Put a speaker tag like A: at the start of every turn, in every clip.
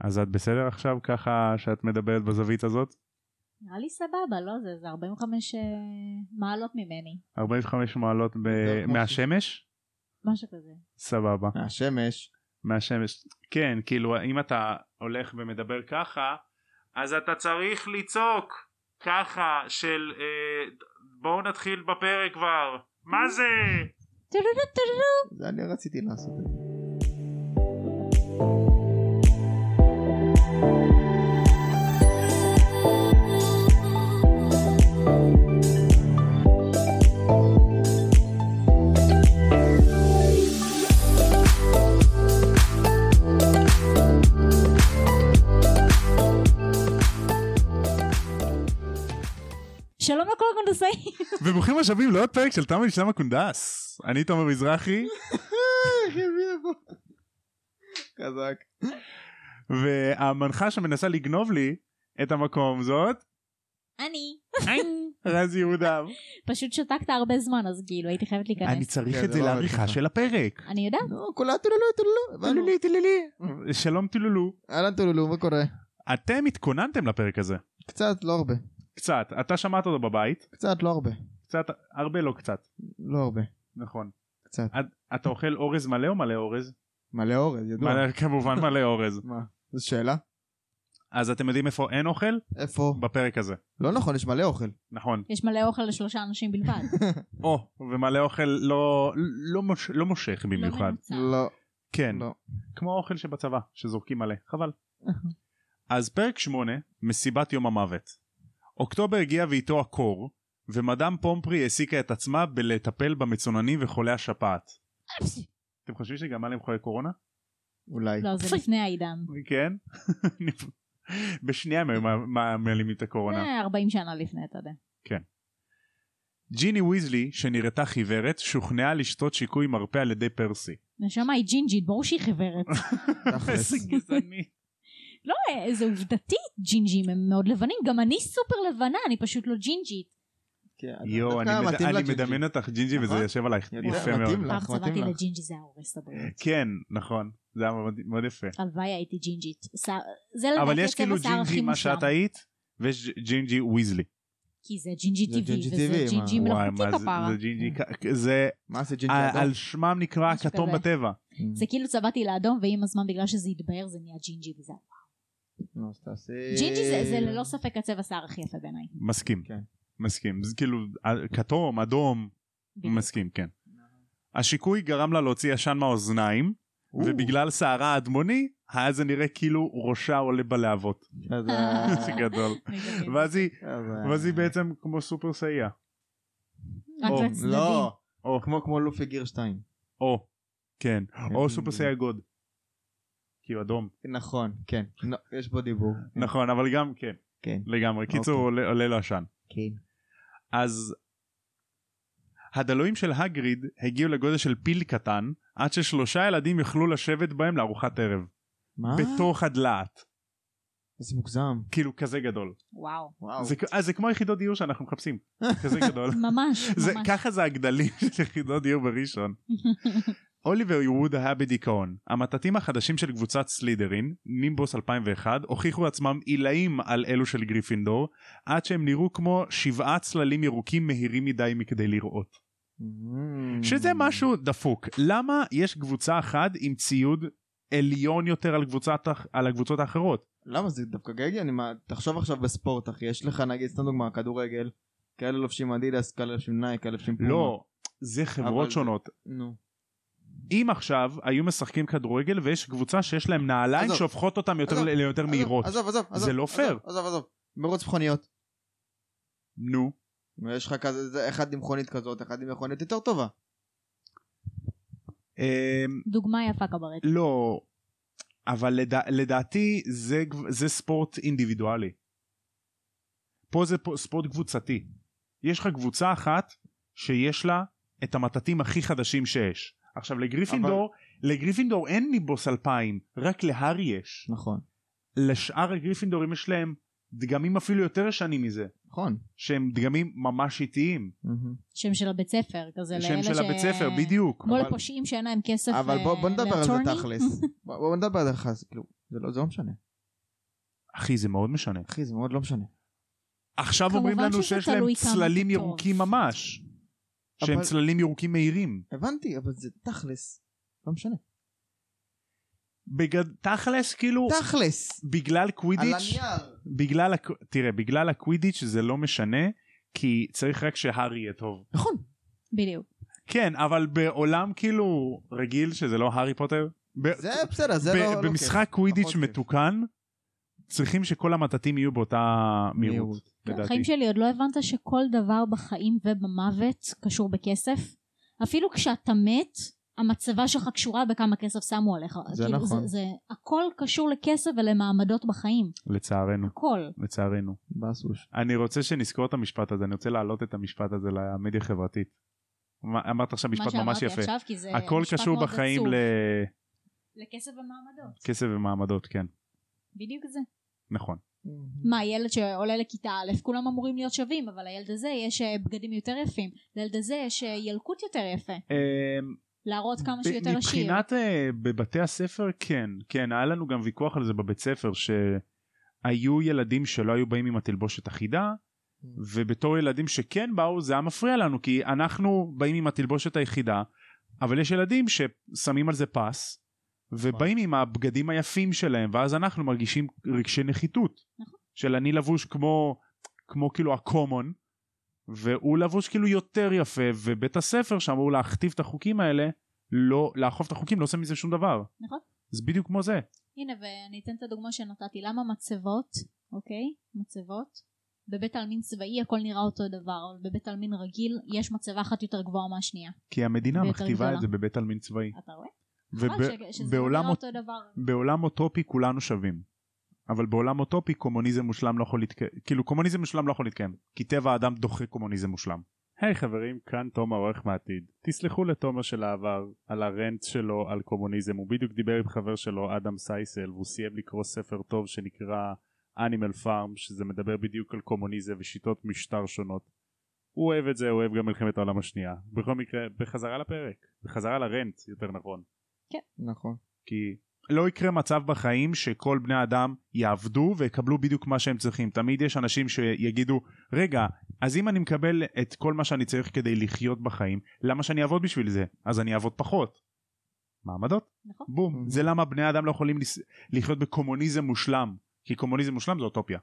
A: אז את בסדר עכשיו ככה שאת מדברת בזווית הזאת?
B: נראה לי סבבה, לא? זה, זה 45 אה, מעלות ממני,
A: 45 מעלות ב-
C: כמו
A: מהשמש?
B: משהו כזה.
A: סבבה.
C: מהשמש.
A: מהשמש. כן, כאילו אם אתה הולך ומדבר ככה, אז אתה צריך לצעוק ככה של אה, בואו נתחיל בפרק כבר. מה זה?
B: טו-טו-טו, טו-טו-טו.
C: זה אני רציתי לעשות את זה.
B: שלום לכל הקונדסאים.
A: וברוכים השבים לעוד פרק של תמי ושלמה קונדס. אני תומר מזרחי,
C: איך הביא לפה? אה, חזק.
A: והמנחה שמנסה לגנוב לי את המקום זאת
B: אני.
A: רז יהודה.
B: פשוט שתקת הרבה זמן, אז כאילו הייתי חייבת
A: אני
B: להיכנס.
A: צריך
C: כן,
A: את
C: זה
A: זה
C: לא
A: לעריכה
C: עריכה.
A: של הפרק.
B: אני יודעת.
C: נו, כולה טולולו טולולו. הבנו.
A: טולולי טולולי. שלום טולולו.
C: אהלן טולולו, מה קורה?
A: אתם התכוננתם לפרק הזה.
C: קצת, לא הרבה.
A: קצת. אתה שמעת אותו בבית.
C: קצת, לא הרבה.
A: קצת, הרבה לא קצת.
C: לא הרבה.
A: נכון.
C: קצת.
A: את- אתה אוכל אורז מלא או מלא אורז?
C: מלא אורז, ידוע.
A: מלא- כמובן מלא אורז.
C: מה? זו שאלה.
A: אז אתם יודעים איפה אין אוכל?
C: איפה?
A: בפרק הזה.
C: לא נכון, יש מלא אוכל.
B: אה.
A: נכון.
B: יש מלא אוכל לשלושה אנשים בלבד.
A: או, ומלא אוכל לא- לא מוש- לא מושך
B: לא
A: במיוחד.
B: מנוצל.
C: לא.
A: כן.
C: לא.
A: כמו האוכל שבצבא, שזורקים מלא, חבל. אז פרק 8, מסיבת יום המוות. אוקטובר הגיע ואיתו הקור, ומדאם פומפרי העסיקה את עצמה בלטפל במצוננים וחולי השפעת. אתם חושבים שגם עליהם חולי קורונה?
C: אולי.
B: לא, זה לפני העידן.
A: כן? בשנייה הם היו מה- מה- מעלימים את הקורונה.
B: זה 40 שנה לפני, אתה יודע.
A: ג'יני ויזלי, שנראתה חיוורת, שוכנעה לשתות שיקוי מרפא על ידי פרסי.
B: נשמה היא ג'ינג'ית, ברור שהיא חיוורת.
C: תכלס.
A: איזה גזעני.
B: לא, אה, זה עובדתית, ג'ינג'ים הם מאוד לבנים. גם אני סופר לבנה, אני פשוט לא ג'ינג'ית. לא-
C: כן, אז
A: יואו, אני
C: דווקא
A: מד-
C: מתאים
A: אני
C: לג'ינג'י.
A: מדמיין אותך ג'ינג'י וזה
C: נכון?
A: יושב עלייך.
C: ידוע,
A: יפה מאוד.
C: מתאים לך,
B: פעם
C: מתאים
B: צבעתי
C: לך.
B: לג'ינג'י זה ההורס הבריאות.
A: כן, נכון. זה היה מאוד- מאוד יפה.
B: הלוואי הייתי ג'ינג'ית. ש- זה
A: אבל
B: לא, לדעתי
A: יש כאילו
B: הצבע שיער הכי
A: ג'ינג'י מה
B: מושלם.
A: שאת היית, ויש ג'ינג'י ויזלי.
B: כי זה ג'ינג'י
C: זה
B: טבעי,
C: ג'ינג'י
B: וזה
C: טבעי, מה? כן.
B: ג'ינג'י
A: וואי,
B: מלאכותי
A: מה זה-
B: כפרה.
A: זה ג'ינג'י, כ- זה
C: מה זה ג'ינג'י
A: ה-
C: אדום?
A: אה, על שמם נקרא
B: משהו
A: הכתום
B: כזה.
A: בטבע.
B: זה כאילו צבעתי לאדום, ועם הזמן בגלל שזה התבהר זה נהיה ג'ינג'י וזה.
C: אה. נו, אז תעשי...
B: ג'ינג'י זה- לא- זה ללא ספק הצבע שיער הכי יפה בעיניי.
A: מסכים.
C: כן.
A: מסכים. זה כאילו ה- כתום, אדום, מסכים, כן. השיקוי גרם לה להוציא עשן מהאוזניים,
C: או,
A: ובגלל שערה אדמוני, היה זה נראה כאילו ראשה עולה בלהבות.
C: אז
B: אה.
C: ה-
A: זה גדול.
B: מגניב.
A: ואז היא-
C: אז אה. ה-
A: ואז היא בעצם כמו סופר סאייה.
B: רק
A: או,
B: לצדדים.
C: לא.
A: או,
C: כמו כמו לופי גרשטיין.
A: או, כן. או סופר סאייה גוד. כי הוא אדום.
C: נכון, כן. נו, יש בו דיבור.
A: נכון, אבל גם כן,
C: כן.
A: לגמרי. קיצור, עולה- עולה לו עשן.
C: כן.
A: אז הדלויים של הגריד הגיעו לגודל של פיל קטן עד ששלושה ילדים יכלו לשבת בהם לארוחת ערב
C: אה. מה?
A: בתוך הדלעת
C: איזה מוגזם.
A: כאילו כזה גדול
B: וואו.
C: וואו.
A: זה, כ- אה, זה כמו יחידות דיור שאנחנו מחפשים כזה גדול
B: ממש,
A: זה,
B: ממש.
A: ככה זה הגדלים של יחידות דיור בראשון אוליבר ווד היה בדיכאון המטטים החדשים של קבוצת סלידרין נימבוס 2001 הוכיחו עצמם עילאים על אלו של גריפינדור עד שהם נראו כמו שבעה צללים ירוקים מהירים מדי מכדי לראות
C: Mm.
A: שזה משהו דפוק למה יש קבוצה אחת עם ציוד עליון יותר על, קבוצת, הח- על הקבוצות האחרות
C: למה זה דווקא גגי? אני מה... תחשוב עכשיו בספורט אחי. יש לך נגיד סתם דוגמה כדורגל. כאלה לובשים אדידס, כאלה לובשים נייק, כאלה לובשים פומה.
A: לא זה
C: אבל
A: חברות
C: זה-
A: שונות
C: נו.
A: אם עכשיו היו משחקים כדורגל ויש קבוצה שיש להם נעליים
C: עזוב.
A: שהופכות אותם יותר
C: עזוב.
A: ל- ליותר
C: עזוב,
A: מהירות
C: עזוב עזוב עזוב.
A: זה לא
C: עזוב,
A: פייר.
C: עזוב עזוב. מרוץ מכוניות.
A: נו
C: יש לך כזה זה אחד עם מכונית כזאת אחד עם מכונית יותר טובה.
A: אמ,
B: דוגמה יפה קברט.
A: לא אבל לדע- לדעתי זה גב- זה ספורט אינדיבידואלי פה זה פה- ספורט קבוצתי יש לך קבוצה אחת שיש לה את המטטים הכי חדשים שיש עכשיו לגריפינדור לגריפינדור אין ניבוס 2000 רק להארי יש
C: נכון.
A: לשאר הגריפינדורים יש להם דגמים אפילו יותר ישנים מזה
C: נכון.
A: שהם דגמים ממש איטיים
C: מהמם.
B: שם של הבית ספר, כזה
A: שם
B: לאלה
A: של הבית ספר בדיוק
B: כמו
A: אבל-
B: לפושעים שאין להם כסף
C: אבל בוא, בוא
B: אה,
C: נדבר על זה
B: לאטורני.
C: תכלס. בוא, בוא נדבר על זה תכלס. כאילו, זה לא, זה לא משנה.
A: אחי זה מאוד משנה.
C: אחי, זה מאוד לא משנה.
A: עכשיו
B: כמובן
A: אומרים לנו
B: שזה
A: שיש להם
B: תלוי כמה
A: צללים
B: אתה טוב.
A: ירוקים ממש. שהם
C: אבל-
A: צללים ירוקים מהירים.
C: הבנתי, אבל זה תכלס. לא משנה.
A: בגד... תכלס כאילו
C: תכלס!
A: בגלל
C: על
A: קווידיץ'
C: הנייר!
A: בגלל הק... תראה בגלל הקווידיץ' זה לא משנה כי צריך רק שהארי יהיה טוב.
C: נכון.
B: בדיוק.
A: כן אבל בעולם כאילו רגיל שזה לא הארי פוטר. ב...
C: זה בסדר, זה
A: ב-
C: לא... לא כיף.
A: במשחק קווידיץ'
C: פחות כיף.
A: מתוקן צריכים שכל המטטים יהיו באותה מהירות.
C: מהירות.
A: לדעתי.
B: בחיים שלי עוד לא הבנת שכל דבר בחיים ובמוות קשור בכסף. אפילו כשאתה מת, המצבה שלך קשורה בכמה כסף שמו עליך.
C: זה
B: כאילו,
C: נכון.
B: זה, זה, הכל קשור לכסף ולמעמדות בחיים.
A: לצערנו.
B: הכל.
A: לצערנו.
C: באסוש.
A: אני רוצה שנזכור את המשפט הזה, אני רוצה להעלות את המשפט הזה למדיה חברתית. מה- אמרת עכשיו משפט ממש
B: מה שאמרתי
A: יפה.
B: עכשיו, כי זה
A: הכל
B: משפט
A: קשור
B: מאוד
A: בחיים
B: עצוב.
A: לכסף
B: לכסף ומעמדות.
A: ומעמדות, כן.
B: בדיוק זה.
A: נכון.
B: מה, ילד שעולה לכיתה א', כולם אמורים להיות שווים, אבל לילד הזה יש אה, בגדים יותר יפים. לילד הזה יש אה, ילקוט יותר יפה.
A: אמ,
B: להראות כמה שהוא יותר עשיר.
A: מבחינת אה, בבתי הספר, כן. כן, היה לנו גם ויכוח על זה בבית ספר, שהיו ילדים שלא היו באים עם התלבושת אחידה, ובתור ילדים שכן באו זה היה מפריע לנו כי אנחנו באים עם התלבושת היחידה אבל יש ילדים ששמים על זה פס ובאים עם הבגדים היפים שלהם ואז אנחנו מרגישים רגשי נחיתות
B: נכון.
A: של אני לבוש כמו כמו כאילו הקומון והוא לבוש כאילו יותר יפה ובית הספר שאמור להכתיב את החוקים האלה לא לאכוף את החוקים לא עושה מזה שום דבר
B: נכון.
A: זה בדיוק כמו זה
B: הנה, ואני אתן את הדוגמה שנתתי. למה מצבות, אוקיי? מצבות. בבית עלמין צבאי הכל נראה אותו דבר, אבל בבית עלמין רגיל יש מצבה אחת יותר גבוהה מהשנייה.
A: כי המדינה
B: ויותר
A: מכתיבה את
B: גדולה.
A: זה בבית עלמין צבאי
B: אתה רואה? חבל ש- שזה לא
A: ובעולם
B: נראה אותו דבר.
A: בעולם אוטופי כולנו שווים. אבל בעולם אוטופי קומוניזם מושלם לא יכול להתקיים, כאילו קומוניזם מושלם לא יכול להתקיים, כי טבע האדם דוחה קומוניזם מושלם. היי hey, חברים, כאן תומר עורך מעתיד. תסלחו לתומר של העבר על הרנט שלו על קומוניזם, הוא בדיוק דיבר עם חבר שלו אדם סייסל והוא סיים לקרוא ספר טוב שנקרא אנימל פארם, שזה מדבר בדיוק על קומוניזם ושיטות משטר שונות. הוא אוהב את זה, הוא אוהב גם מלחמת העולם השנייה. בכל מקרה, בחזרה לפרק, בחזרה לרנט יותר נכון.
C: נכון.
A: כי לא יקרה מצב בחיים שכל בני אדם יעבדו ויקבלו בדיוק מה שהם צריכים. תמיד יש אנשים שיגידו, רגע, אז אם אני מקבל את כל מה שאני צריך כדי לחיות בחיים, למה שאני אעבוד בשביל זה? אז אני אעבוד פחות. מעמדות,
B: נכון.
A: בום. זה למה בני אדם לא יכולים לס- לחיות בקומוניזם מושלם. כי קומוניזם מושלם זה אוטופיה.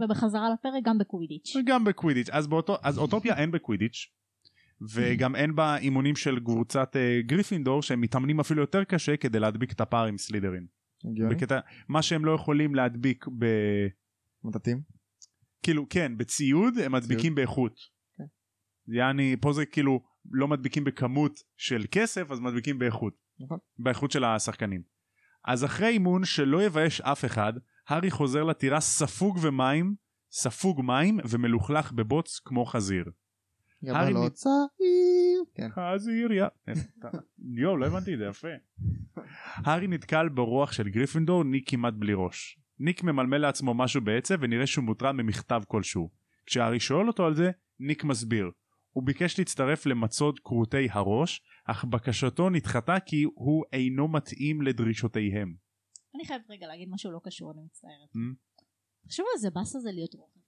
B: ובחזרה לפרק גם בקווידיץ'.
A: גם בקווידיץ'. אז, באותו, אז אוטופיה אין בקווידיץ'. וגם אין בה אימונים של קבוצת אה, גריפינדור שהם מתאמנים אפילו יותר קשה כדי להדביק את הפער עם סלידרין.
C: הגיוני?
A: בקטע, מה שהם לא יכולים להדביק ב...
C: מטאטים?
A: כאילו כן בציוד הם מדביקים באיכות.
C: כן.
A: יעני פה זה כאילו לא מדביקים בכמות של כסף אז מדביקים באיכות.
C: נכון.
A: באיכות של השחקנים. אז אחרי אימון שלא יבייש אף אחד הארי חוזר לטירה ספוג ומים ספוג מים ומלוכלך בבוץ כמו חזיר. הארי
C: גבל
A: מת-
C: הוצאה. לא כן.
A: חזיר יא. יואו לא הבנתי את זה יפה. הארי נתקל ברוח של גריפינדור ניק כמעט בלי ראש. ניק ממלמל לעצמו משהו בעצב ונראה שהוא מוטרד ממכתב כלשהו. כשהארי שואל אותו על זה ניק מסביר. הוא ביקש להצטרף למצוד כרותי הראש אך בקשתו נדחתה כי הוא אינו מתאים לדרישותיהם.
B: אני חייבת רגע להגיד משהו לא קשור, אני מצטערת.
A: Mm.
B: תחשבו איזה באסה זה להיות רוחב.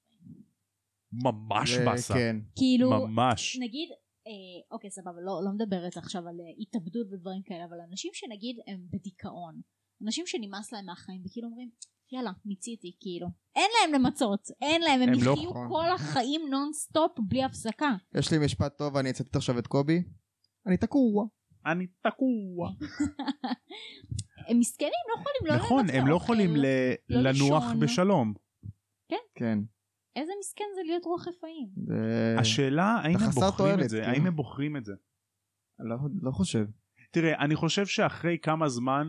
A: ממש
C: זה-
A: באסה.
C: כן.
B: כאילו,
A: ממש.
B: נגיד, אה, אוקיי סבבה, לא, לא מדברת עכשיו על אה, התאבדות ודברים כאלה, אבל אנשים שנגיד הם בדיכאון, אנשים שנמאס להם מהחיים וכאילו אומרים, יאללה, מיציתי, כאילו. אין להם למצות, אין להם, הם,
A: הם לא
B: יחיו
C: נכון.
B: כל החיים נונסטופ בלי הפסקה.
C: יש לי משפט טוב, אני אצטט עכשיו את קובי. אני תקוע.
A: אני תקוע.
B: הם מסכנים, לא יכולים, לא
A: נכון
B: למצוא
A: הם לא
B: אוכל.
A: יכולים ל-
B: לא
A: לנוח
B: לישון.
A: בשלום.
C: כן.
B: איזה מסכן זה להיות רוח רפאים.
C: זה-
A: השאלה האם
C: אתה
A: הם
C: חסר
A: בוחרים את
C: אה, תועלת,
A: זה,
C: כאילו.
A: האם הם בוחרים את זה.
C: לא- לא חושב.
A: תראה, אני חושב שאחרי כמה זמן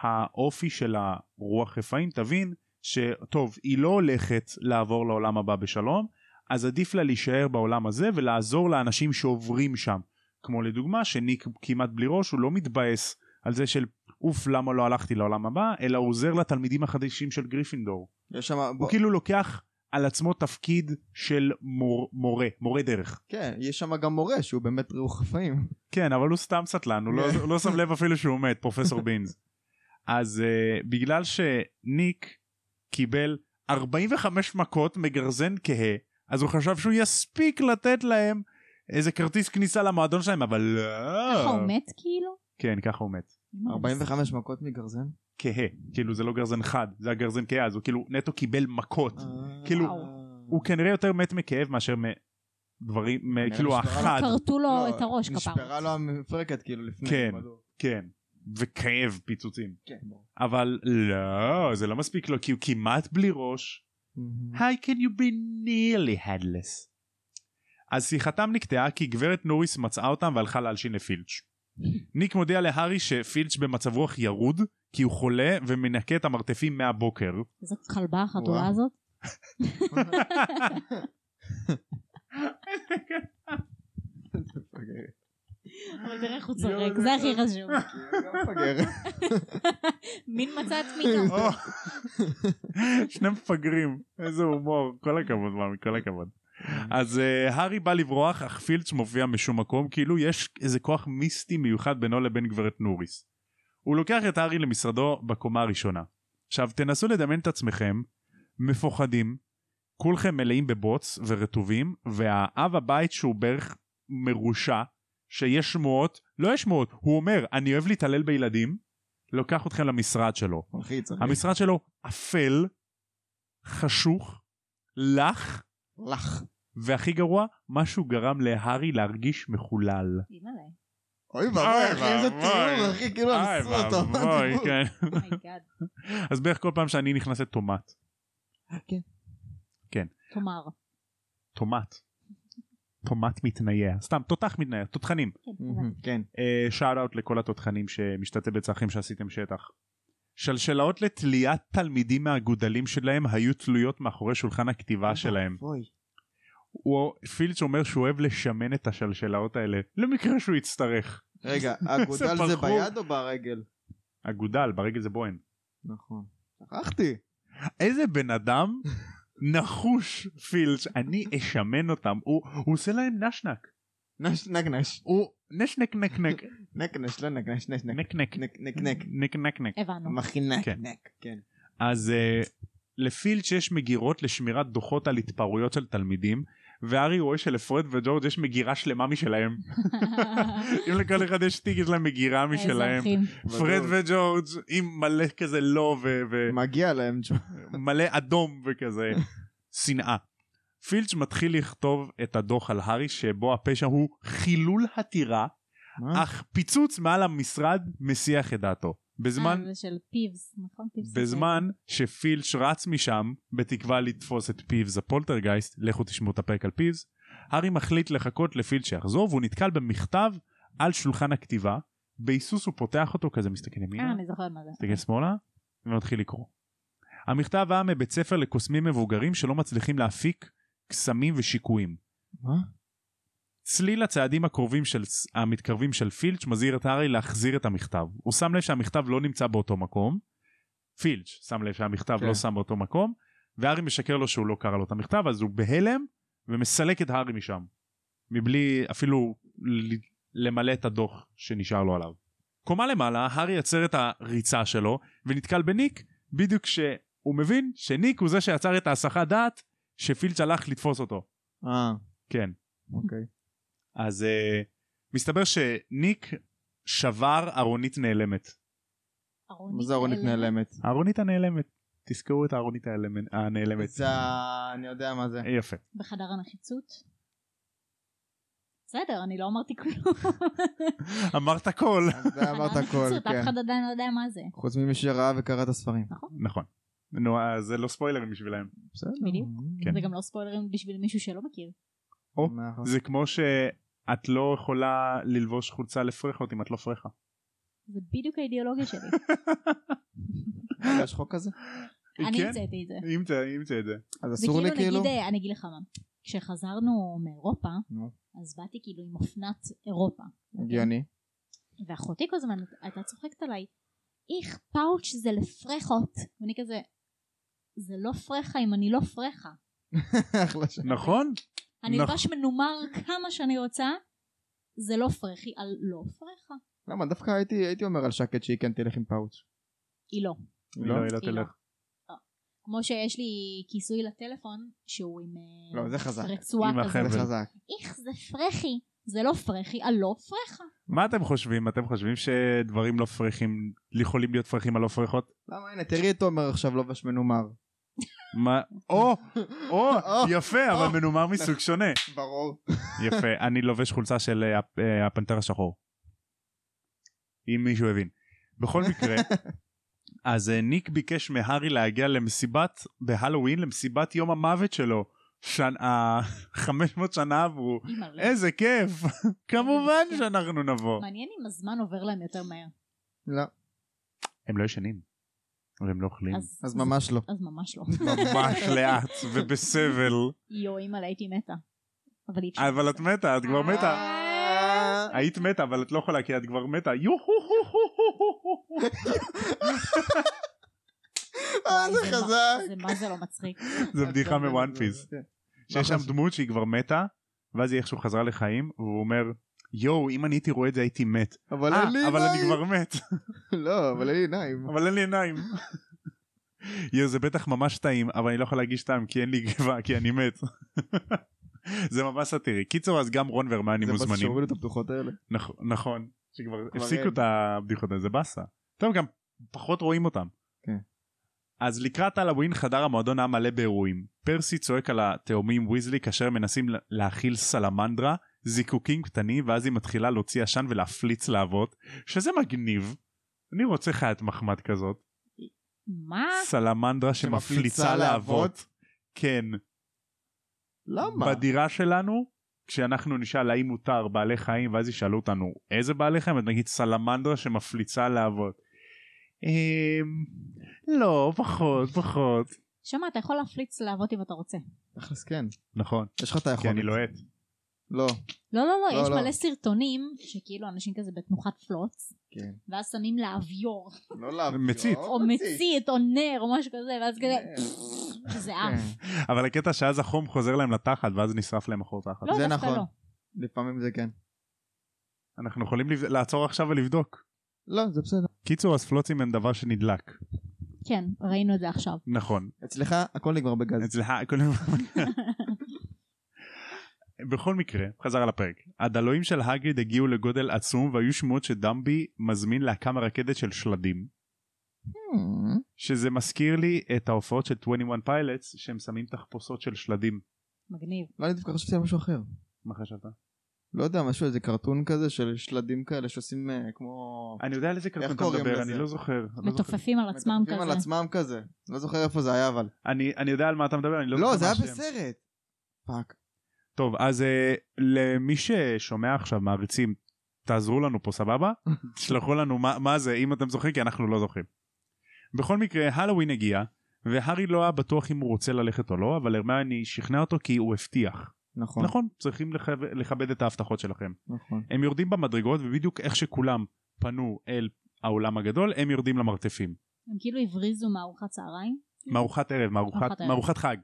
A: האופי של הרוח רפאים תבין שטוב, היא לא הולכת לעבור לעולם הבא בשלום, אז עדיף לה להישאר בעולם הזה ולעזור לאנשים שעוברים שם. כמו לדוגמה שניק כמעט בלי ראש הוא לא מתבאס על זה של אוף למה לא הלכתי לעולם הבא אלא הוא עוזר לתלמידים החדשים של גריפינדור.
C: יש שם... בוא-
A: הוא כאילו לוקח על עצמו תפקיד של מור, מורה, מורה דרך.
C: כן, יש שם גם מורה שהוא באמת רוח חפאים.
A: כן אבל הוא סתם סטלן הוא לא,
C: כן.
A: הוא לא שם לב אפילו שהוא מת פרופסור בינז. אז uh, בגלל שניק קיבל 45 מכות מגרזן כהה, אז הוא חשב שהוא יספיק לתת להם איזה כרטיס כניסה למועדון שלהם, אבל לא.
B: ככה הוא מת כאילו?
A: כן, ככה הוא מת.
B: מה זה?
C: 45 מכות מגרזן?
A: כהה, כאילו זה לא גרזן חד, זה הגרזן כהה, אז הוא כאילו נטו קיבל מכות.
C: אה.
A: כאילו, הוא כנראה יותר מת מכאב מאשר מדברים, מ-
C: כנראה
A: כאילו
C: נשברה לו
A: החד,
B: כרתו לו
C: לא,
B: את הראש כפר.
C: נשברה לו המפרקת כאילו לפני.
A: כן.
C: בדור.
A: כן, וכאב פיצוצים.
C: כן. ברור.
A: אבל לא, זה לא מספיק לו, כי הוא כמעט בלי ראש.
B: כן.
A: How can you be nearly headless? אז שיחתם נקטעה כי גברת נוריס מצאה אותם והלכה להלשין לפילץ'. ניק מודיע להארי שפילץ' במצב רוח ירוד, כי הוא חולה ומנקה את המרתפים מהבוקר.
B: איזו כלבה החתולה
C: וואו.
B: הזאת.
C: מפגר.
B: אבל תראה איך הוא
C: יואו,
B: צוחק,
C: זה
B: זה הכי
C: כלבה.
B: חשוב.
C: גם מפגר.
B: מין מצא עצמי
A: או, שני מפגרים, איזה הומור, כל הכבוד, מאמי, כל הכבוד. אז אה, הארי בא לברוח, אך פילץ' מופיע משום מקום, כאילו יש איזה כוח מיסטי מיוחד בינו לבין גברת נוריס. הוא לוקח את הארי למשרדו בקומה הראשונה. עכשיו, תנסו לדמיין את עצמכם, מפוחדים, כולכם מלאים בבוץ ורטובים, והאב הבית שהוא בערך מרושע, שיש שמועות, לא יש שמועות, הוא אומר, אני אוהב להתעלל בילדים, לוקח אתכם למשרד שלו.
C: מלחיץ. אחי.
A: המשרד שלו אפל, חשוך, לח,
C: לך.
A: והכי גרוע, משהו גרם להארי להרגיש מחולל.
B: אימא'לה,
C: אה, אוי
A: אוי
C: ואבוי אחי איזה
A: ואבוי.
C: תיאור אחי כאילו
A: איי,
C: אנסו אותו.
A: ואבוי, כן.
B: אומייגאד.
A: אז בערך כל פעם שאני נכנס לטומט.
B: כן. תאמר,
A: טומט. טומט מתנייע. סתם, תותח מתנייע, תותחנים.
B: כן, הבנתי.
C: Mhm, כן.
A: שאט אאוט לכל התותחנים שמשתתף בצרכים שעשיתם שטח. שלשלאות לתליית תלמידים מהגודלים שלהם היו תלויות מאחורי שולחן הכתיבה
C: אוקיי.
A: שלהם.
C: אוי.
A: הוא, פילץ' אומר שהוא אוהב לשמן את השלשלאות האלה למקרה שהוא יצטרך.
C: רגע, האגודל
A: איזה
C: זה
A: בחור.
C: ביד או ברגל?
A: אגודל, ברגל זה בוהן.
C: נכון. שכחתי.
A: איזה בן אדם נחוש פילץ', אני אשמן אותם. הוא, הוא עושה להם נשנק.
C: נש נגנש.
A: הוא נשנק נק נק
C: נקנש לא נגנש נש
A: נק
C: נק.
A: נק
C: נק נק נק.
A: נק נק נק.
B: הבנו.
C: מכינק.
A: כן.
C: נק. כן.
A: אז אה, לפילץ' יש מגירות לשמירת דוחות על התפרעויות של תלמידים. והארי רואה שלפרד וג'ורג' יש מגירה שלמה משלהם. אם לכל אחד יש תיק יש להם מגירה משלהם.
B: האזרחים. אה,
A: פרד וג'ורג' עם מלא כזה לא ו- ו-
C: מגיע להם ג'ו.
A: מלא אדום וכזה שנאה. פילץ' מתחיל לכתוב את הדוח על הארי שבו הפשע הוא חילול התירה
B: אה.
C: מה?
A: אך פיצוץ מעל המשרד מסיח את דעתו. בזמן,
B: אה, זה של פיבס, נכון? פיבס.
A: בזמן שפילץ' רץ משם בתקווה לתפוס את פיבס הפולטרגייסט, לכו תשמעו את הפרק על פיבס, הארי מחליט לחכות לפילץ' שיחזור והוא נתקל במכתב על שולחן הכתיבה, בהיסוס הוא פותח אותו כזה מסתכל
B: אה,
A: ימינה,
B: אני זוכרת מה זה.
A: מסתכל שמאלה ומתחיל לקרוא. המכתב היה מבית ספר לקוסמים מבוגרים שלא מצליחים להפיק קסמים ושיקויים.
C: מה?
A: צליל הצעדים הקרובים של המתקרבים של פילץ' מזהיר את הארי להחזיר את המכתב. הוא שם לב שהמכתב לא נמצא באותו מקום. פילץ' שם לב שהמכתב
C: כן.
A: לא שם באותו מקום, והארי משקר לו שהוא לא קרא לו את המכתב, אז הוא בהלם ומסלק את הארי משם. מבלי אפילו ל- למלא את הדוח שנשאר לו עליו. קומה למעלה, הארי יצר את הריצה שלו ונתקל בניק בדיוק כשהוא מבין שניק הוא זה שיצר את ההסחת דעת שפילץ' הלך לתפוס אותו.
C: אה,
A: כן.
C: אוקיי.
A: אז uh, מסתבר שניק שבר ארונית נעלמת.
C: מה זה ארונית נעלמת?
A: הארונית הנעלמת. תזכרו את הארונית האלמנ- הנעלמת.
C: זה ה... אני יודע מה זה.
A: יפה.
B: בחדר הנחיצות? בסדר, אני לא אמרתי כלום.
A: אמרת הכל.
C: זה אמרת
B: בחדר הנחיצות,
C: הכל,
B: אף
C: כן.
B: אחד עדיין לא יודע מה זה.
C: חוץ ממי שראה וקרא את הספרים.
A: נכון. נו, אז זה לא ספוילרים בשבילהם.
C: בסדר.
B: בדיוק.
A: כן.
B: זה גם לא ספוילרים בשביל מישהו שלא מכיר.
A: או,
C: נכון.
A: זה כמו שאת לא יכולה ללבוש חולצה לפרחות אם את לא פרחה.
B: זה בדיוק האידיאולוגיה שלי.
C: רגע, יש חוק כזה?
B: אני
A: כן?
B: המצאתי את זה.
A: אימצא- אימצא את זה.
C: אז
B: זה
C: אסור לי
B: כאילו
C: כאילו?
B: נגיד, אה, אני אגיד לך מה, כשחזרנו מאירופה,
C: נו.
B: אז באתי כאילו עם אופנת אירופה.
C: הגיוני.
B: ואחותי כל הזמן הייתה צוחקת עליי, איך פאוץ' זה לפרחות. ואני כזה, זה לא פרחה אם אני לא פרחה. כן.
C: אחלה שם.
A: נכון?
B: אני
A: נכון.
B: אלבש מנומר כמה שאני רוצה, זה לא פרחי על לא פרחה.
C: למה? דווקא הייתי הייתי אומר על שקד שהיא כן תלך עם פאוץ'.
B: היא לא.
A: לא, היא לא
B: היא לא.
A: תלך.
B: כמו שיש לי כיסוי לטלפון שהוא עם אה,
C: לא, זה חזק.
B: רצועה
A: עם
B: כזאת.
A: החבל.
C: זה חזק.
B: איך זה פרחי. זה לא פרחי, הלא פרחה.
A: מה אתם חושבים? אתם חושבים שדברים לא פרחים, יכולים להיות פרחים על לא פרחות?
C: למה הנה תראי את תומר עכשיו לובש מנומר.
A: מה? או, או,
C: או,
A: יפה,
C: או.
A: אבל מנומר מסוג שונה.
C: ברור.
A: יפה, אני לובש חולצה של אה, הפ- אה, הפנתר השחור. אם מישהו הבין. בכל מקרה, אז אה, ניק ביקש מהארי להגיע למסיבת, בהלואוין, למסיבת יום המוות שלו. שנה, 500 שנה עברו.
B: אימא, לא.
A: איזה כיף! כמובן
C: כן.
A: שאנחנו נבוא.
B: מעניין אם הזמן עובר להם יותר מהר.
C: לא,
A: הם לא ישנים. והם לא אוכלים.
C: אז ממש לא.
B: אז ממש לא.
A: ממש לאט ובסבל.
B: יואו, אימא'לה, הייתי מתה. אבל אי אפשר.
A: אבל את מתה, את כבר מתה.
C: אה,
A: היית מתה, אבל את לא יכולה כי את כבר מתה. יו-הו-הו-הו-הו-הו-הו.
C: אה, זה
B: מה-
C: חזק.
B: זה מה זה לא מצחיק.
A: זו בדיחה מוואן פיס.
C: כן.
A: שיש שם דמות שהיא כבר מתה, ואז היא איכשהו חזרה לחיים, והוא אומר, יואו, אם אני הייתי רואה את זה הייתי מת.
C: אבל
A: אה,
C: אין לי עיניים.
A: אבל אני כבר מת.
C: לא, אבל אין לי עיניים.
A: אבל אין לי עיניים. יואו, זה בטח ממש טעים, אבל אני לא יכול להגיש טעם כי אין לי גבעה, כי אני מת. זה ממש סאטירי. קיצור, אז גם רון והרמני
C: זה בס
A: מוזמנים.
C: שהורידו את הפתוחות האלה.
A: נכ- נכון, שכבר
C: כבר
A: הפסיקו
C: אין.
A: את הבדיחות האלה, זה באסה. טוב, גם פחות רואים אותם.
C: כן.
A: אז לקראת הלווין חדר המועדון היה מלא באירועים. פרסי צועק על התאומים ויזלי כאשר הם מנסים לה- להאכיל סלמנדרה, זיקוקים קטנים, ואז היא מתחילה להוציא עשן ולהפליץ להבות, שזה מגניב. אני רוצה חיית מחמד כזאת.
B: מה?
A: סלמנדרה
C: שמפליצה
A: שמפליצה להבות.
C: להבות?
A: כן.
C: למה?
A: בדירה שלנו, כשאנחנו נשאל האם מותר בעלי חיים, ואז ישאלו אותנו איזה בעלי חיים, אז נגיד סלמנדרה שמפליצה להבות. אמ... לא, פחות, פחות.
B: שמע, אתה יכול להפליץ להבות אם אתה רוצה.
C: תכלס כן.
A: נכון,
C: יש לך את היכולת.
A: כי אני לוהט.
C: לא.
B: לא, לא,
C: לא,
B: לא, יש
C: לא.
B: מלא סרטונים שכאילו אנשים כזה בתנוחת פלוץ,
C: כן.
B: ואז שמים לאביור,
C: לא להב.
A: מצית.
B: או מצית, או נר, או משהו כזה, ואז כזה, זה עף.
C: כן.
A: אבל הקטע שאז החום חוזר להם לתחת, ואז נשרף להם אחור תחת.
B: לא,
C: זה
B: דווקא
C: נכון.
B: לא.
C: לפעמים זה כן.
A: אנחנו יכולים לב- לעצור עכשיו ולבדוק.
C: לא, זה בסדר.
A: קיצור, אז פלוצים הם דבר שנדלק.
B: כן, ראינו את זה עכשיו.
A: נכון.
C: אצלך הכל נגמר בגז.
A: אצלך הכל... בכל מקרה, חזר על הפרק. הדלויים של הגריד הגיעו לגודל עצום והיו שמועות שדמבי מזמין להקה מרקדת של שלדים.
C: אה,
A: שזה מזכיר לי את ההופעות של 21 פיילטס שהם שמים תחפושות של שלדים.
B: מגניב.
C: לא, אני דווקא חשבתי על משהו אחר.
A: מה חשבת?
C: לא יודע, משהו, איזה קרטון כזה של שלדים כאלה שעושים אה, כמו...
A: אני יודע על איזה קרטון אתה
C: קוראים
A: מדבר,
C: לזה?
A: אני לא זוכר. לא זוכר.
B: מתופפים על עצמם
C: מטפפים על
B: כזה.
C: עצמם כזה. לא זוכר איפה זה היה אבל.
A: אני אני יודע על מה אתה מדבר, אני לא
C: לא,
A: זוכר
C: זה
A: מה
C: היה
A: השם.
C: בסרט. פאק.
A: טוב, אז אה, למי ששומע עכשיו, מעריצים, תעזרו לנו פה, סבבה? תשלחו לנו מה, מה זה, אם אתם זוכרים, כי אנחנו לא זוכרים. בכל מקרה, הלואוין הגיע, והארי לא היה בטוח אם הוא רוצה ללכת או לא, אבל הרמיוני שכנע אותו כי הוא הבטיח.
C: נכון.
A: נכון, צריכים לכב... לכבד את ההבטחות שלכם.
C: נכון.
A: הם יורדים במדרגות, ובדיוק איך שכולם פנו אל האולם הגדול, הם יורדים למרתפים.
B: הם כאילו הבריזו מארוחת צהריים.
A: מארוחת ערב, מארוחת,
B: מארוחת ערב.
A: מארוחת חג.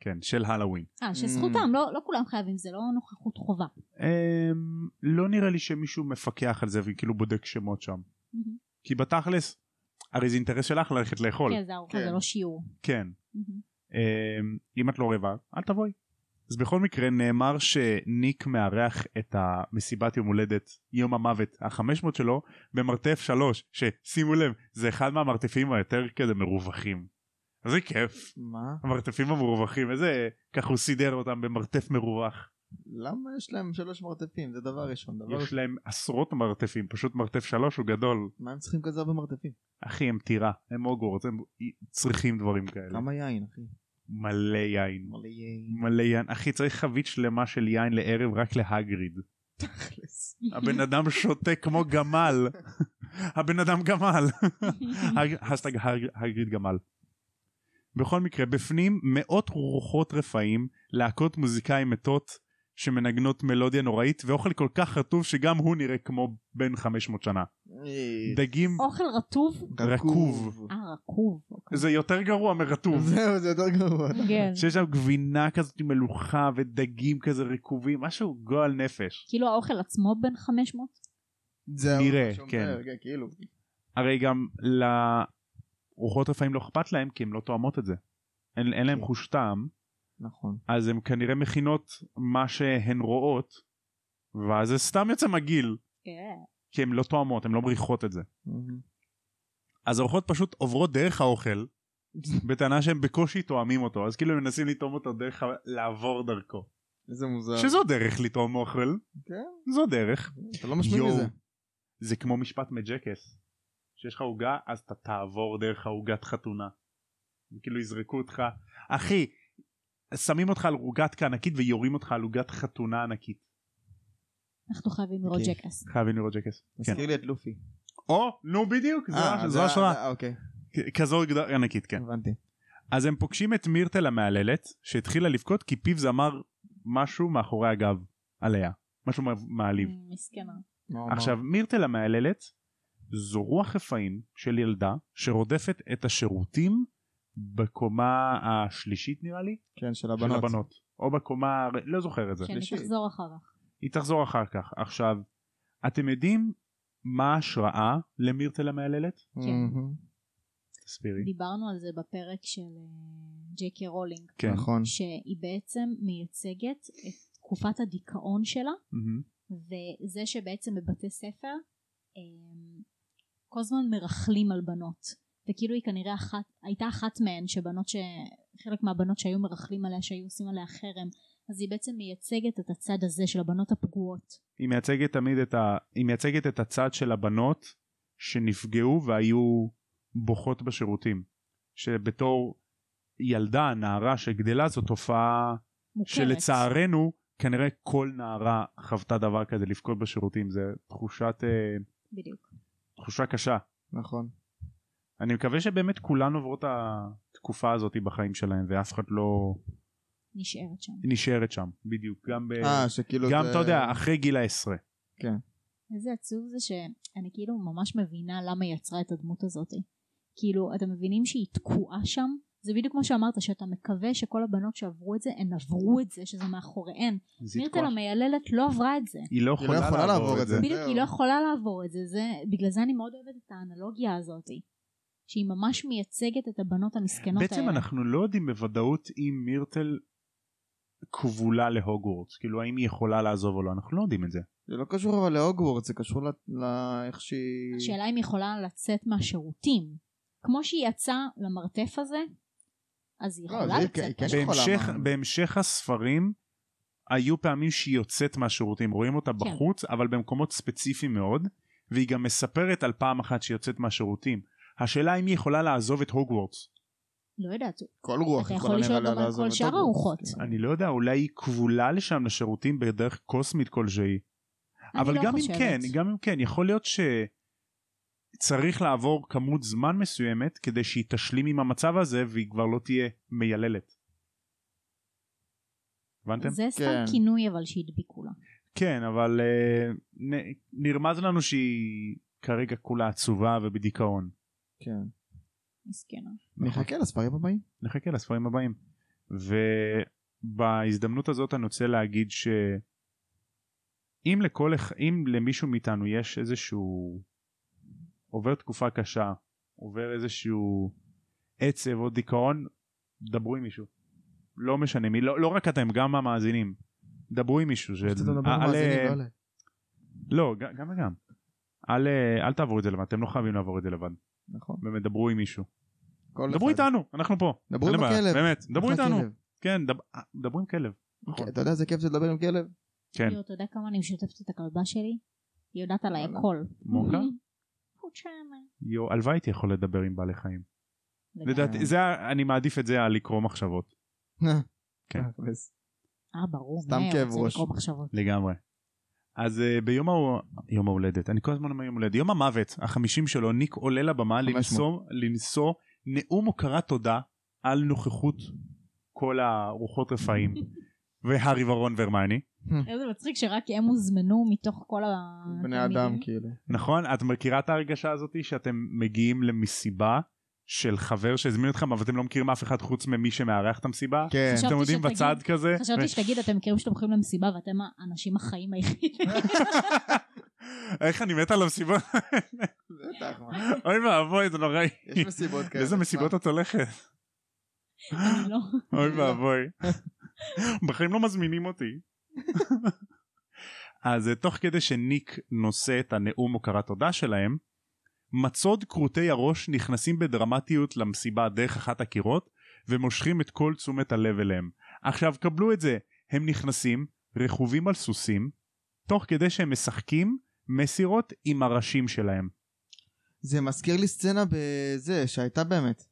A: כן, של הלואוין.
B: אה,
C: Mm.
B: שזכותם, לא לא כולם חייבים, זה לא נוכחות חובה.
A: אמ, לא נראה לי שמישהו מפקח על זה וכאילו בודק שמות שם.
B: מהמם.
A: כי בתכלס, הרי זה אינטרס שלך ללכת לאכול.
B: כן, זה ארוחה,
C: כן.
B: זה לא שיעור.
A: כן.
B: מהמם.
A: אמ, אם את לא רעבה, אל תבואי. אז בכל מקרה נאמר שניק מארח את המסיבת יום הולדת, יום המוות ה-500 שלו, במרתף 3, ששימו לב, זה אחד מהמרתפים היותר כזה מרווחים. איזה כיף,
C: מה?
A: המרתפים המרווחים, איזה, ככה הוא סידר אותם במרתף מרווח.
C: למה יש להם שלוש מרתפים? זה דבר ראשון. דבר
A: יש
C: ראשון.
A: להם עשרות מרתפים, פשוט מרתף 3 הוא גדול.
C: מה הם צריכים כזה הרבה מרתפים?
A: אחי הם טירה, הם הוגוורטס, הם צריכים דברים כאלה.
C: כמה יין, אחי?
A: מלא יין.
C: מלא יין.
A: מלא יין. אחי, צריך חבית שלמה של יין לערב רק להגריד.
C: תכלס.
A: הבן אדם שותה כמו גמל. הבן אדם גמל. הג- השטג הג- הגריד גמל. בכל מקרה, בפנים מאות רוחות רפאים, להקות מוזיקאים מתות שמנגנות מלודיה נוראית, ואוכל כל כך רטוב שגם הוא נראה כמו בן 500 שנה.
C: אה,
A: דגים
B: אוכל רטוב?
A: רקוב.
B: אה, רקוב. אוקיי.
A: זה יותר גרוע מרטוב.
C: זהו, זה יותר גרוע.
B: כן.
A: שיש שם גבינה כזאת עם מלוכה ודגים כזה רקובים, משהו גועל נפש.
B: כאילו האוכל עצמו בין 500?
C: זהו.
A: נראה,
C: שומר,
A: כן.
C: כאילו.
A: הרי גם לרוחות רפאים לא אכפת להם כי הן לא תואמות את זה. אין, אין להם חוש טעם,
C: נכון.
A: אז הן כנראה מכינות מה שהן רואות, ואז זה סתם יוצא מגעיל,
B: כן.
A: כי הן לא תואמות, הן לא מריחות את זה. אז הרוחות פשוט עוברות דרך האוכל, בטענה שהם בקושי תואמים אותו, אז כאילו הם מנסים לטעום אותו דרך ה... לעבור דרכו.
C: איזה מוזר.
A: שזו דרך לטעום אוכל,
C: כן,
A: זו דרך.
C: אתה לא משמיע
A: יואו.
C: מזה.
A: זה כמו משפט מג'קס. שיש לך עוגה אז אתה תעבור דרך העוגת חתונה. הם כאילו יזרקו אותך אחי שמים אותך על עוגת ענקית ויורים אותך על עוגת חתונה ענקית.
B: אנחנו חייבים לראות
A: אוקיי.
C: כיף.
B: ג'קאס.
A: חייבים לראות ג'קס. כן.
C: מזכיר לי את לופי.
A: או נו בדיוק זה
C: אה,
A: הש-
C: זה
A: זו
C: ה-
A: השראה.
C: אה, אוקיי,
A: כ- כזו עוגה ענקית כן.
C: הבנתי.
A: אז הם פוגשים את מירטל המהללת שהתחילה לבכות כי פיו זמר משהו מאחורי הגב עליה. משהו מ- מעליב.
B: Mm, מסכנה.
C: מה הוא אמר?
A: עכשיו מירטל המהללת זו רוח רפאים של ילדה שרודפת את השירותים בקומה השלישית נראה לי
C: כן, של
A: של
C: הבנות.
A: הבנות או בקומה הר- לא זוכר את זה
B: כן,
C: שלישי.
B: היא תחזור אחר כך.
A: היא תחזור אחר כך עכשיו אתם יודעים מה ההשראה למירטל המהללת?
C: מהמם.
A: תסבירי.
B: דיברנו על זה בפרק של אה, ג'יי קיי רולינג,
A: כן.
C: נכון.
B: שהיא בעצם מייצגת את תקופת הדיכאון שלה,
A: מהמם.
B: וזה שבעצם בבתי ספר אמ, כל הזמן מרכלים על בנות. וכאילו היא כנראה אחת, הייתה אחת מהן שבנות ש... חלק מהבנות שהיו מרכלים עליה, שהיו עושים עליה חרם, אז היא בעצם מייצגת את הצד הזה של הבנות הפגועות.
A: היא מייצגת תמיד את ה... היא מייצגת את הצד של הבנות שנפגעו והיו בוכות בשירותים שבתור ילדה נערה שגדלה זו תופעה
B: מוכרת.
A: שלצערנו כנראה כל נערה חוותה דבר כזה לבכות בשירותים זה תחושת אה,
B: בדיוק.
A: תחושה קשה
C: נכון.
A: אני מקווה שבאמת כולן עוברות את התקופה הזאת בחיים שלהם ואף אחד לא
B: נשארת שם.
A: נשארת שם בדיוק גם ב...
C: אה, שכאילו
A: גם
C: זה-
A: אתה יודע אחרי גיל העשרה
B: איזה עצוב זה שאני כאילו ממש מבינה למה היא יצרה את הדמות הזאת. כאילו, אתם מבינים שהיא תקועה שם? זה בדיוק כמו שאמרת, שאתה מקווה שכל הבנות שעברו את זה, הן עברו את זה, שזה מאחוריהן.
A: זה
B: מירטל
A: תקוע.
B: המייללת לא עברה את זה.
A: היא לא
C: היא לא
A: יכולה
C: יכולה
A: לעבור את זה
B: בדיוק, היא
C: זהו.
B: לא יכולה לעבור את זה, זה, בגלל זה אני מאוד אוהבת את האנלוגיה הזאת, שהיא ממש מייצגת את הבנות המסכנות האלה.
A: בעצם אנחנו לא יודעים בוודאות אם מירטל כבולה להוגוורטס כאילו האם היא יכולה לעזוב או לא אנחנו לא יודעים את זה
C: זה לא קשור אבל להוגוורט, זה קשור ל- ל- איך שהיא...
B: השאלה אם היא יכולה לצאת מהשירותים. כמו שהיא יצאה למרתף הזה, אז היא
C: לא,
B: יכולה
C: זה היא- היא
B: לצאת.
C: כן יכולה,
A: בהמשך,
C: מה?
A: בהמשך הספרים היו פעמים שהיא יוצאת מהשירותים רואים אותה
B: כן.
A: בחוץ אבל במקומות ספציפיים מאוד והיא גם מספרת על פעם אחת שהיא יוצאת מהשירותים השאלה אם היא יכולה לעזוב את הוגוורטס
B: לא יודעת,
C: כל רוח
B: אתה
C: יכולה
B: יכול לשאול
C: נראה
B: גם
C: לה
B: על
C: לעזוב
B: כל
C: את כן.
B: שאר
C: הוגוורט.
B: הרוחות.
A: אני לא יודע אולי היא כבולה לשם לשירותים בדרך קוסמית כלשהי
B: אני
A: אבל
B: לא
A: גם אם
B: חושבת.
A: כן גם אם כן יכול להיות שצריך לעבור כמות זמן מסוימת כדי שהיא תשלים עם המצב הזה והיא כבר לא תהיה מייללת. הבנתם?
B: זה סתם
C: כן.
B: כינוי אבל שהדביקו לה.
A: כן אבל אה, נ- נרמז לנו שהיא כרגע כולה עצובה ובדיכאון.
C: כן.
B: מסכנה.
C: נחכה לספרים הבאים.
A: נחכה לספרים הבאים. ובהזדמנות הזאת אני רוצה להגיד שאם לכל אח- אם למישהו מאיתנו יש איזשהו עובר תקופה קשה עובר איזשהו עצב או דיכאון דברו עם מישהו. לא משנה מי לא, לא רק אתם גם המאזינים. דברו עם מישהו. של-
C: שאתה מדבר
A: אל-
C: עם מאזינים, לא עליי.
A: לא ג- גם וגם. אל, אל תעברו את זה לבד אתם לא חייבים לעבור את זה לבד.
C: נכון.
A: באמת דברו עם מישהו.
C: כל
A: דברו
C: אחד.
A: איתנו אנחנו פה.
C: דברו
A: אין
C: עם
A: לי בעיה,
C: הכלב.
A: באמת דברו
C: אחלה
A: איתנו.
C: כלב.
A: כן, דב... אה, דברו עם כלב. נכון.
C: כן, אתה יודע איזה כיף זה לדבר עם כלב?
A: כן.
B: יואו, אתה יודע כמה אני משתפת את הכלבה שלי? היא יודעת עליי
C: וואלה.
B: הכל.
A: מוקה?
B: חודשיים.
A: יו, הלוואי הייתי יכול לדבר עם בעלי חיים.
C: אה.
A: לדעתי, זה, ה- אני מעדיף את זה על לקרוא מחשבות. כן.
C: אה, תכלס.
B: אה, ברור.
C: סתם
B: מה,
C: כאב
B: רוצה
C: ראש.
B: לקרוא מחשבות.
A: לגמרי. אז אה, ביום ה... יום ההולדת, אני כל הזמן אומר יום הולדת, יום המוות, החמישים שלו, ניק עולה לבמה
C: 500.
A: לנסוע, לנסוע נאום הוקרת תודה על נוכחות כל הרוחות רפאים והארי ורון והרמני.
B: איזה מצחיק שרק הם הוזמנו מתוך כל ה...
C: בני אדם כאילו.
A: נכון? את מכירה את ההרגשה הזאת שאתם מגיעים למסיבה של חבר שהזמין אתכם אבל אתם לא מכירים אף אחד חוץ ממי שמארח את המסיבה?
C: כן.
B: חשבתי
A: אתם עומדים
B: שתגיד-
A: בצד כזה?
C: כאילו.
B: חשבתי שתגיד, אתם מכירים שאתם הולכים למסיבה ואתם האנשים החיים היחידים.
A: איך אני מת על המסיבה
C: בטח, מה.
A: אוי ואבוי זה נוראי.
C: יש מסיבות כאלה.
A: לאיזה מסיבות את הולכת?
B: אני לא.
A: אוי
C: לא.
A: ואבוי. בחיים לא מזמינים אותי. אז אה, תוך כדי שניק נושא את הנאום הוקרת תודה שלהם, מצוד כרותי הראש נכנסים בדרמטיות למסיבה דרך אחת הקירות, ומושכים את כל תשומת הלב אליהם. עכשיו קבלו את זה, הם נכנסים, רכובים על סוסים, תוך כדי שהם משחקים מסירות עם הראשים שלהם.
C: זה מזכיר לי סצנה בזה שהייתה באמת.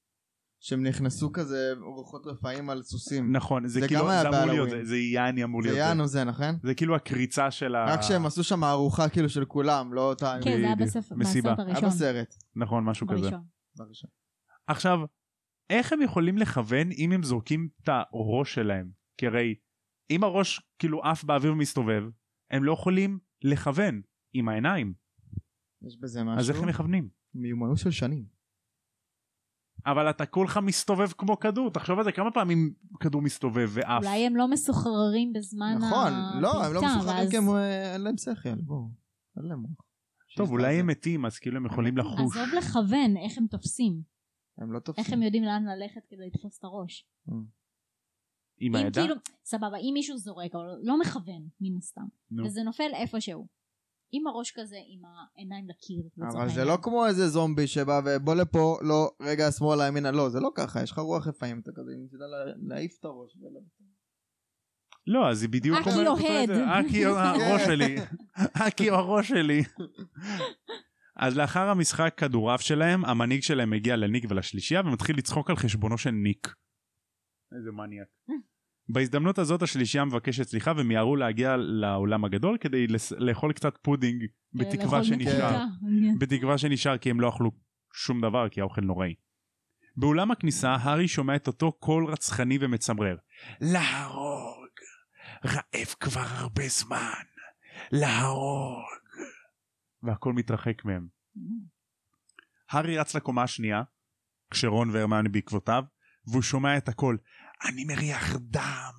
C: שהם נכנסו כזה רוחות רפאים על סוסים.
A: נכון, זה,
C: זה
A: כאילו,
C: גם היה
A: זה אמור להיות,
C: בהלואוין.
A: זה- זה יעני אמור
C: זה
A: להיות. זה.
C: יענו זה, נכון?
A: זה כאילו הקריצה של ה...
C: רק שהם עשו שם ארוחה כאילו של כולם, לא אותה...
B: כן, זה היה
A: בדיוק.
B: בספר,
A: מסיבה.
B: בסרט
C: היה
B: הראשון.
C: בסרט.
A: נכון, משהו כזה.
B: בראשון.
C: בראשון.
A: עכשיו, איך הם יכולים לכוון אם הם זורקים את הראש שלהם? כי הרי אם הראש כאילו עף באוויר ומסתובב, הם לא יכולים לכוון עם העיניים.
C: יש בזה
A: אז איך
C: משהו.
A: הם מכוונים?
C: מיומנות של שנים.
B: אה,
A: אבל אתה כולך מסתובב כמו כדור, תחשוב על זה כמה פעמים כדור מסתובב ועף.
B: אולי הם לא מסוחררים בזמן הפעיטה.
C: נכון, לא, הם לא משוחררים
B: ואז-
C: כי הם... אה, אין להם שכל, בואו. אין להם מוח.
A: טוב,
C: שיש
A: אולי
C: לזה.
A: הם מתים, אז כאילו הם יכולים לחוש.
B: עזוב לכוון, איך הם תופסים.
C: הם לא תופסים. אה.
B: איך הם יודעים לאן ללכת כדי לתפוס את הראש.
A: עם
B: אם
A: הידע?
B: כאילו, סבבה, אם מישהו זורק, אבל לא מכוון, מן הסתם.
A: נו.
B: וזה נופל איפשהו. עם הראש כזה, עם העיניים לקיר.
C: אבל
B: לצורך
C: זה לא
B: העניין.
C: כמו איזה זומבי שבא ובוא לפה, לא, רגע, שמאלה, ימינה, לא, זה לא ככה, יש לך רוח רפאים, אתה כזה, אם תדע לה- להעיף את הראש. ול-
A: לא, אז היא בדיוק
B: אקי
A: אומרת אותו אה, את
B: אוהד.
A: זה. אקי או הראש שלי. אקי או הראש שלי. אז לאחר המשחק כדורעף שלהם, המנהיג שלהם מגיע לניק ולשלישייה ומתחיל לצחוק על חשבונו של ניק. איזה מניאק. בהזדמנות הזאת השלישייה מבקשת סליחה ומיהרו להגיע לעולם הגדול כדי לס- לאכול קצת פודינג
B: לאכול
A: בתקווה
B: נקודה.
A: שנשאר.
B: כן.
A: בתקווה שנשאר כי הם לא אכלו שום דבר כי האוכל נוראי. באולם הכניסה הארי שומע את אותו קול רצחני ומצמרר. להרוג! רעב כבר הרבה זמן! להרוג! והכל מתרחק מהם.
C: כן.
A: הארי רץ לקומה השנייה, כשרון והרמיוני בעקבותיו, והוא שומע את הקול, אני מריח דם.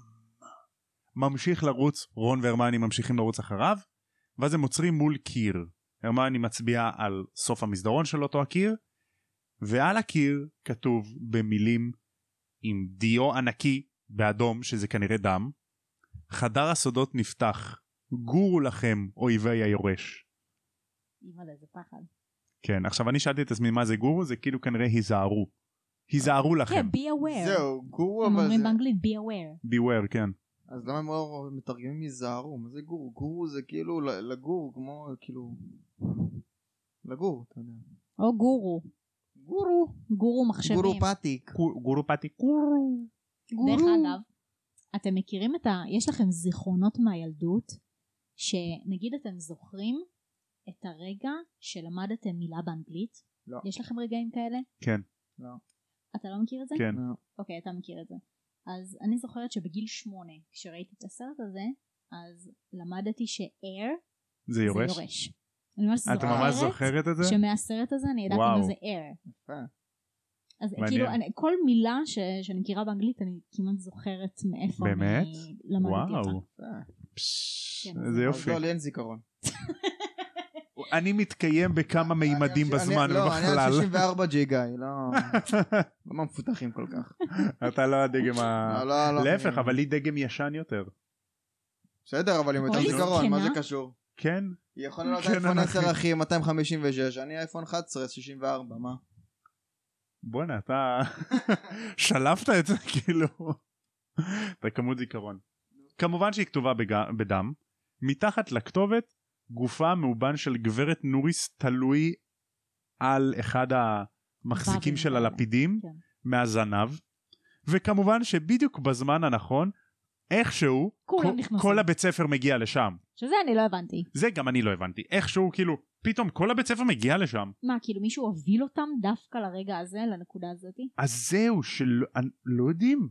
A: ממשיך לרוץ, רון והרמיוני ממשיכים לרוץ אחריו, ואז הם עוצרים מול קיר. הרמיוני מצביעה על סוף המסדרון של אותו הקיר, ועל הקיר כתוב במילים עם דיו ענקי באדום, שזה כנראה דם, חדר הסודות נפתח, גורו לכם אויבי היורש.
B: אימא'לה, זה פחד.
A: כן, עכשיו אני שאלתי את עצמי מה זה גורו, זה כאילו כנראה היזהרו. היזהרו
B: כן,
A: לכם.
B: be aware.
C: זהו, גורו,
B: הם
C: אבל
B: אומרים
C: זה...
B: באנגלית be aware.
A: beware, כן.
C: אז למה הם לא מתרגמים יזהרו? מה זה גורו? גורו זה כאילו ל- לגור, כמו, כאילו... לגור, אתה יודע.
B: או גורו.
C: גורו.
B: גורו מחשבים.
C: גורו פטיק.
A: גורו פטי גורו.
B: דרך אגב, אתם מכירים את ה... יש לכם זיכרונות מהילדות, שנגיד אתם זוכרים את הרגע שלמדתם מילה באנגלית?
C: לא.
B: יש לכם רגעים כאלה?
A: כן,
B: אתה לא מכיר את זה?
A: כן.
C: אה.
B: אוקיי, אתה מכיר את זה. אז אני זוכרת שבגיל שמונה, כשראיתי את הסרט הזה, אז למדתי ש-air
A: זה
B: זה
A: יורש?
B: יורש. אני ממש
A: את ממש זוכרת את זה?
B: שמהסרט הזה אני ידעתי
A: וואו.
B: מה זה air.
C: יפה.
B: אז
A: מעניין.
B: כאילו אני, כל מילה ש, שאני מכירה באנגלית אני כמעט זוכרת מאיפה
A: באמת?
B: אני למדתי אותה.
A: וואו.
C: יפה.
A: פש,
B: כן,
A: איזה
B: זה-
A: יופי.
C: אז לא, לי אין זיכרון.
A: אני מתקיים בכמה מימדים
C: אני על ש-
A: בזמן
C: אני- לא, אני על
A: ובחלל.
C: 64 ג'יגה, היא לא... לא מפותחים כל כך.
A: אתה לא הדגם ה...
C: לא, לא, לא.
A: להפך,
C: אני-
A: אבל לי דגם ישן יותר.
C: בסדר, אבל עם יותר
A: אוי,
C: זיכרון, מה זה
B: זקנה.
C: קשור?
A: כן?
C: היא יכולה להיות
A: כן,
C: אייפון
A: אנחנו-
C: 10 אחי, 256, אני אייפון 11, 64, מה?
A: בואנה, אתה שלפת את זה כאילו. אתה כמות זיכרון. כמובן שהיא כתובה בג- בדם. מתחת לכתובת גופה מאובן של גברת נוריס תלוי על אחד המחזיקים
B: באבים
A: של
B: האלה.
A: הלפידים
B: כן.
A: מהזנב. וכמובן שבדיוק בזמן הנכון, איכשהו,
B: כולם
A: כל-
B: נכנסו.
A: כל הבית ספר מגיע לשם.
B: שזה אני לא הבנתי.
A: זה גם אני לא הבנתי. איכשהו כאילו, פתאום כל הבית ספר מגיע לשם.
B: מה, כאילו מישהו הוביל אותם דווקא לרגע הזה, לנקודה הזאת?
A: אז זהו, שלא אני- לא יודעים.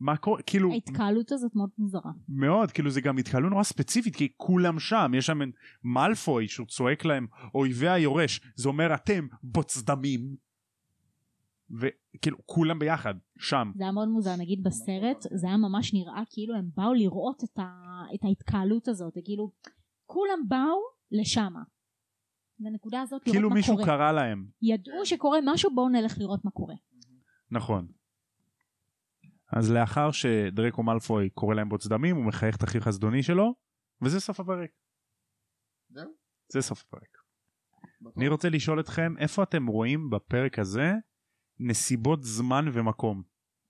A: מה קורה, כאילו,
B: ההתקהלות הזאת מאוד מוזרה.
A: מאוד, כאילו זה גם התקהלות נורא ספציפית, כי כולם שם, יש שם מאלפוי שהוא צועק להם, אויבי היורש, זה אומר אתם בוצדמים. וכאילו, כולם ביחד, שם.
B: זה היה מאוד מוזר, נגיד בסרט, זה היה ממש נראה כאילו הם באו לראות את, ה... את ההתקהלות הזאת, זה כאילו כולם באו לשמה. לנקודה הזאת לראות
A: כאילו
B: מה
A: מישהו
B: קורה.
A: קרא להם.
B: ידעו שקורה משהו בואו נלך לראות מה קורה.
A: נכון. אז לאחר שדרקו מאלפוי קורא להם בוץ דמים, הוא מחייך את אחיו חסדוני שלו, וזה סוף הפרק.
C: זהו?
A: זה סוף הפרק. אני רוצה לשאול אתכם, איפה אתם רואים בפרק הזה נסיבות זמן ומקום?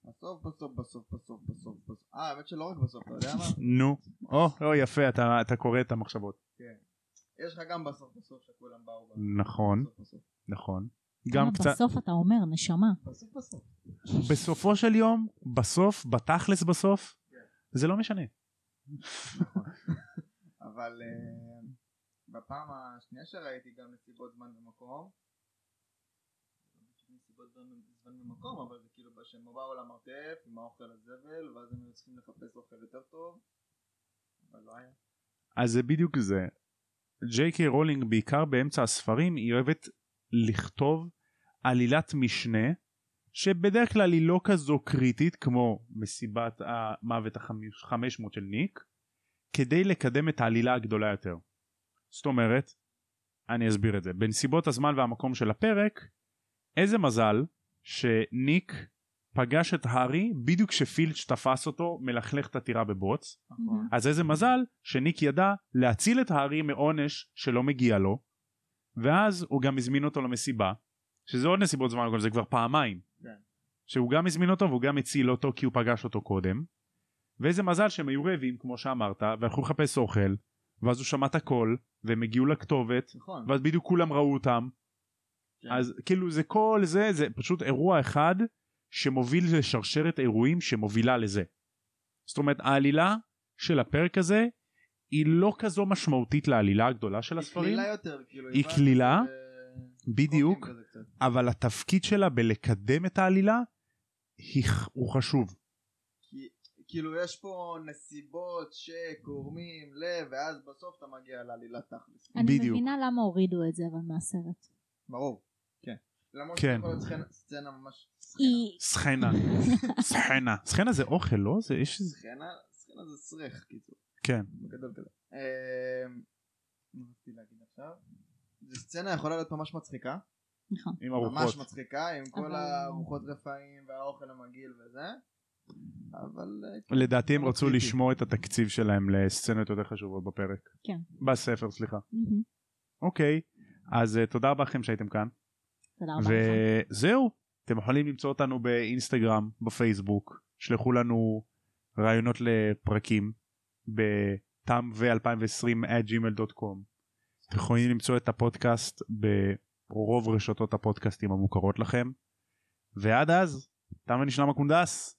C: בסוף, בסוף, בסוף, בסוף, בסוף, בסוף. אה, האמת שלא רק בסוף, אתה יודע מה?
A: נו. או, או יפה, אתה, אתה קורא את המחשבות.
C: כן. יש לך גם בסוף, בסוף, שכולם באו. ב-
A: נכון,
C: בסוף, בסוף.
A: נכון. גם
B: למה
A: קצת,
B: בסוף אתה אומר נשמה.
C: בסוף, בסוף.
A: בסופו של יום, בסוף, בתכלס בסוף, זה לא משנה.
C: אבל אה, בפעם השנייה שראיתי גם נסיבות זמן ומקום. לא נסיבות זמן- זמן ומקום, אבל זה כאילו שהם באו למרתף עם האוכל הזבל, ואז הם היו צריכים לחפש אוכל יותר טוב. אבל לא היה.
A: אז זה בדיוק זה. ג'יי קיי רולינג בעיקר באמצע הספרים היא אוהבת לכתוב עלילת משנה שבדרך כלל היא לא כזו קריטית כמו מסיבת המוות ה-500 של ניק כדי לקדם את העלילה הגדולה יותר. זאת אומרת, אני אסביר את זה. בנסיבות הזמן והמקום של הפרק, איזה מזל שניק פגש את הארי בדיוק כשפילץ' תפס אותו מלכלך את הטירה בבוץ
B: נכון.
A: אז איזה מזל שניק ידע להציל את הארי מעונש שלא מגיע לו ואז הוא גם הזמין אותו למסיבה שזה עוד נסיבות זמן אבל זה כבר פעמיים
C: כן.
A: שהוא גם הזמין אותו והוא גם הציל אותו כי הוא פגש אותו קודם ואיזה מזל שהם היו רעבים כמו שאמרת והלכו לחפש אוכל ואז הוא שמע את הקול והם הגיעו לכתובת
C: נכון.
A: ואז בדיוק כולם ראו אותם
C: כן.
A: אז כאילו זה כל זה זה פשוט אירוע אחד שמוביל לשרשרת אירועים שמובילה לזה. זאת אומרת העלילה של הפרק הזה היא לא כזו משמעותית לעלילה הגדולה של
C: היא
A: הספרים
C: קלילה יותר, כאילו.
A: היא
C: הבנתי,
A: קלילה,
C: אה,
A: בדיוק
C: קוקים כזה קצת.
A: אבל התפקיד שלה בלקדם את העלילה היא, ח- הוא חשוב
C: כי- כאילו יש פה נסיבות שגורמים ל... ואז בסוף אתה מגיע לעלילת תכלס.
B: אני
A: בדיוק.
B: מבינה למה הורידו את זה אבל מהסרט.
C: ברור. כן. למרות
A: כן.
C: שזה יכול להיות סצנה- סצנה ממש...
A: נכון.
B: היא
A: סחנה סחנה סחנה זה אוכל לא זה יש איזה
C: סצנה, סצנה זה סרח, כאילו.
A: כן
C: בגדול כזה. אמ, מה רציתי להגיד עכשיו? זו סצנה יכולה להיות ממש מצחיקה.
B: נכון.
A: עם
C: ממש
A: ארוחות
C: מצחיקה, עם כל
B: אבל-
C: הרוחות רפאים והאוכל המגעיל וזה. אבל... אה, כן.
A: לדעתי הם
C: לא
A: רצו
C: קריטי.
A: לשמור את התקציב שלהם לסצנות יותר חשובות בפרק
B: כן.
A: בספר סליחה
B: מהמם.
A: אוקיי, אז אה, תודה רבה לכם שהייתם כאן.
B: תודה רבה לך.
A: וזהו, אתם יכולים למצוא אותנו באינסטגרם, בפייסבוק, שלחו לנו רעיונות לפרקים בתם ו-2020 at gmail.com. אתם יכולים למצוא את הפודקאסט ברוב רשתות הפודקאסטים המוכרות לכם. ועד אז, תם ונשלם הקונדס.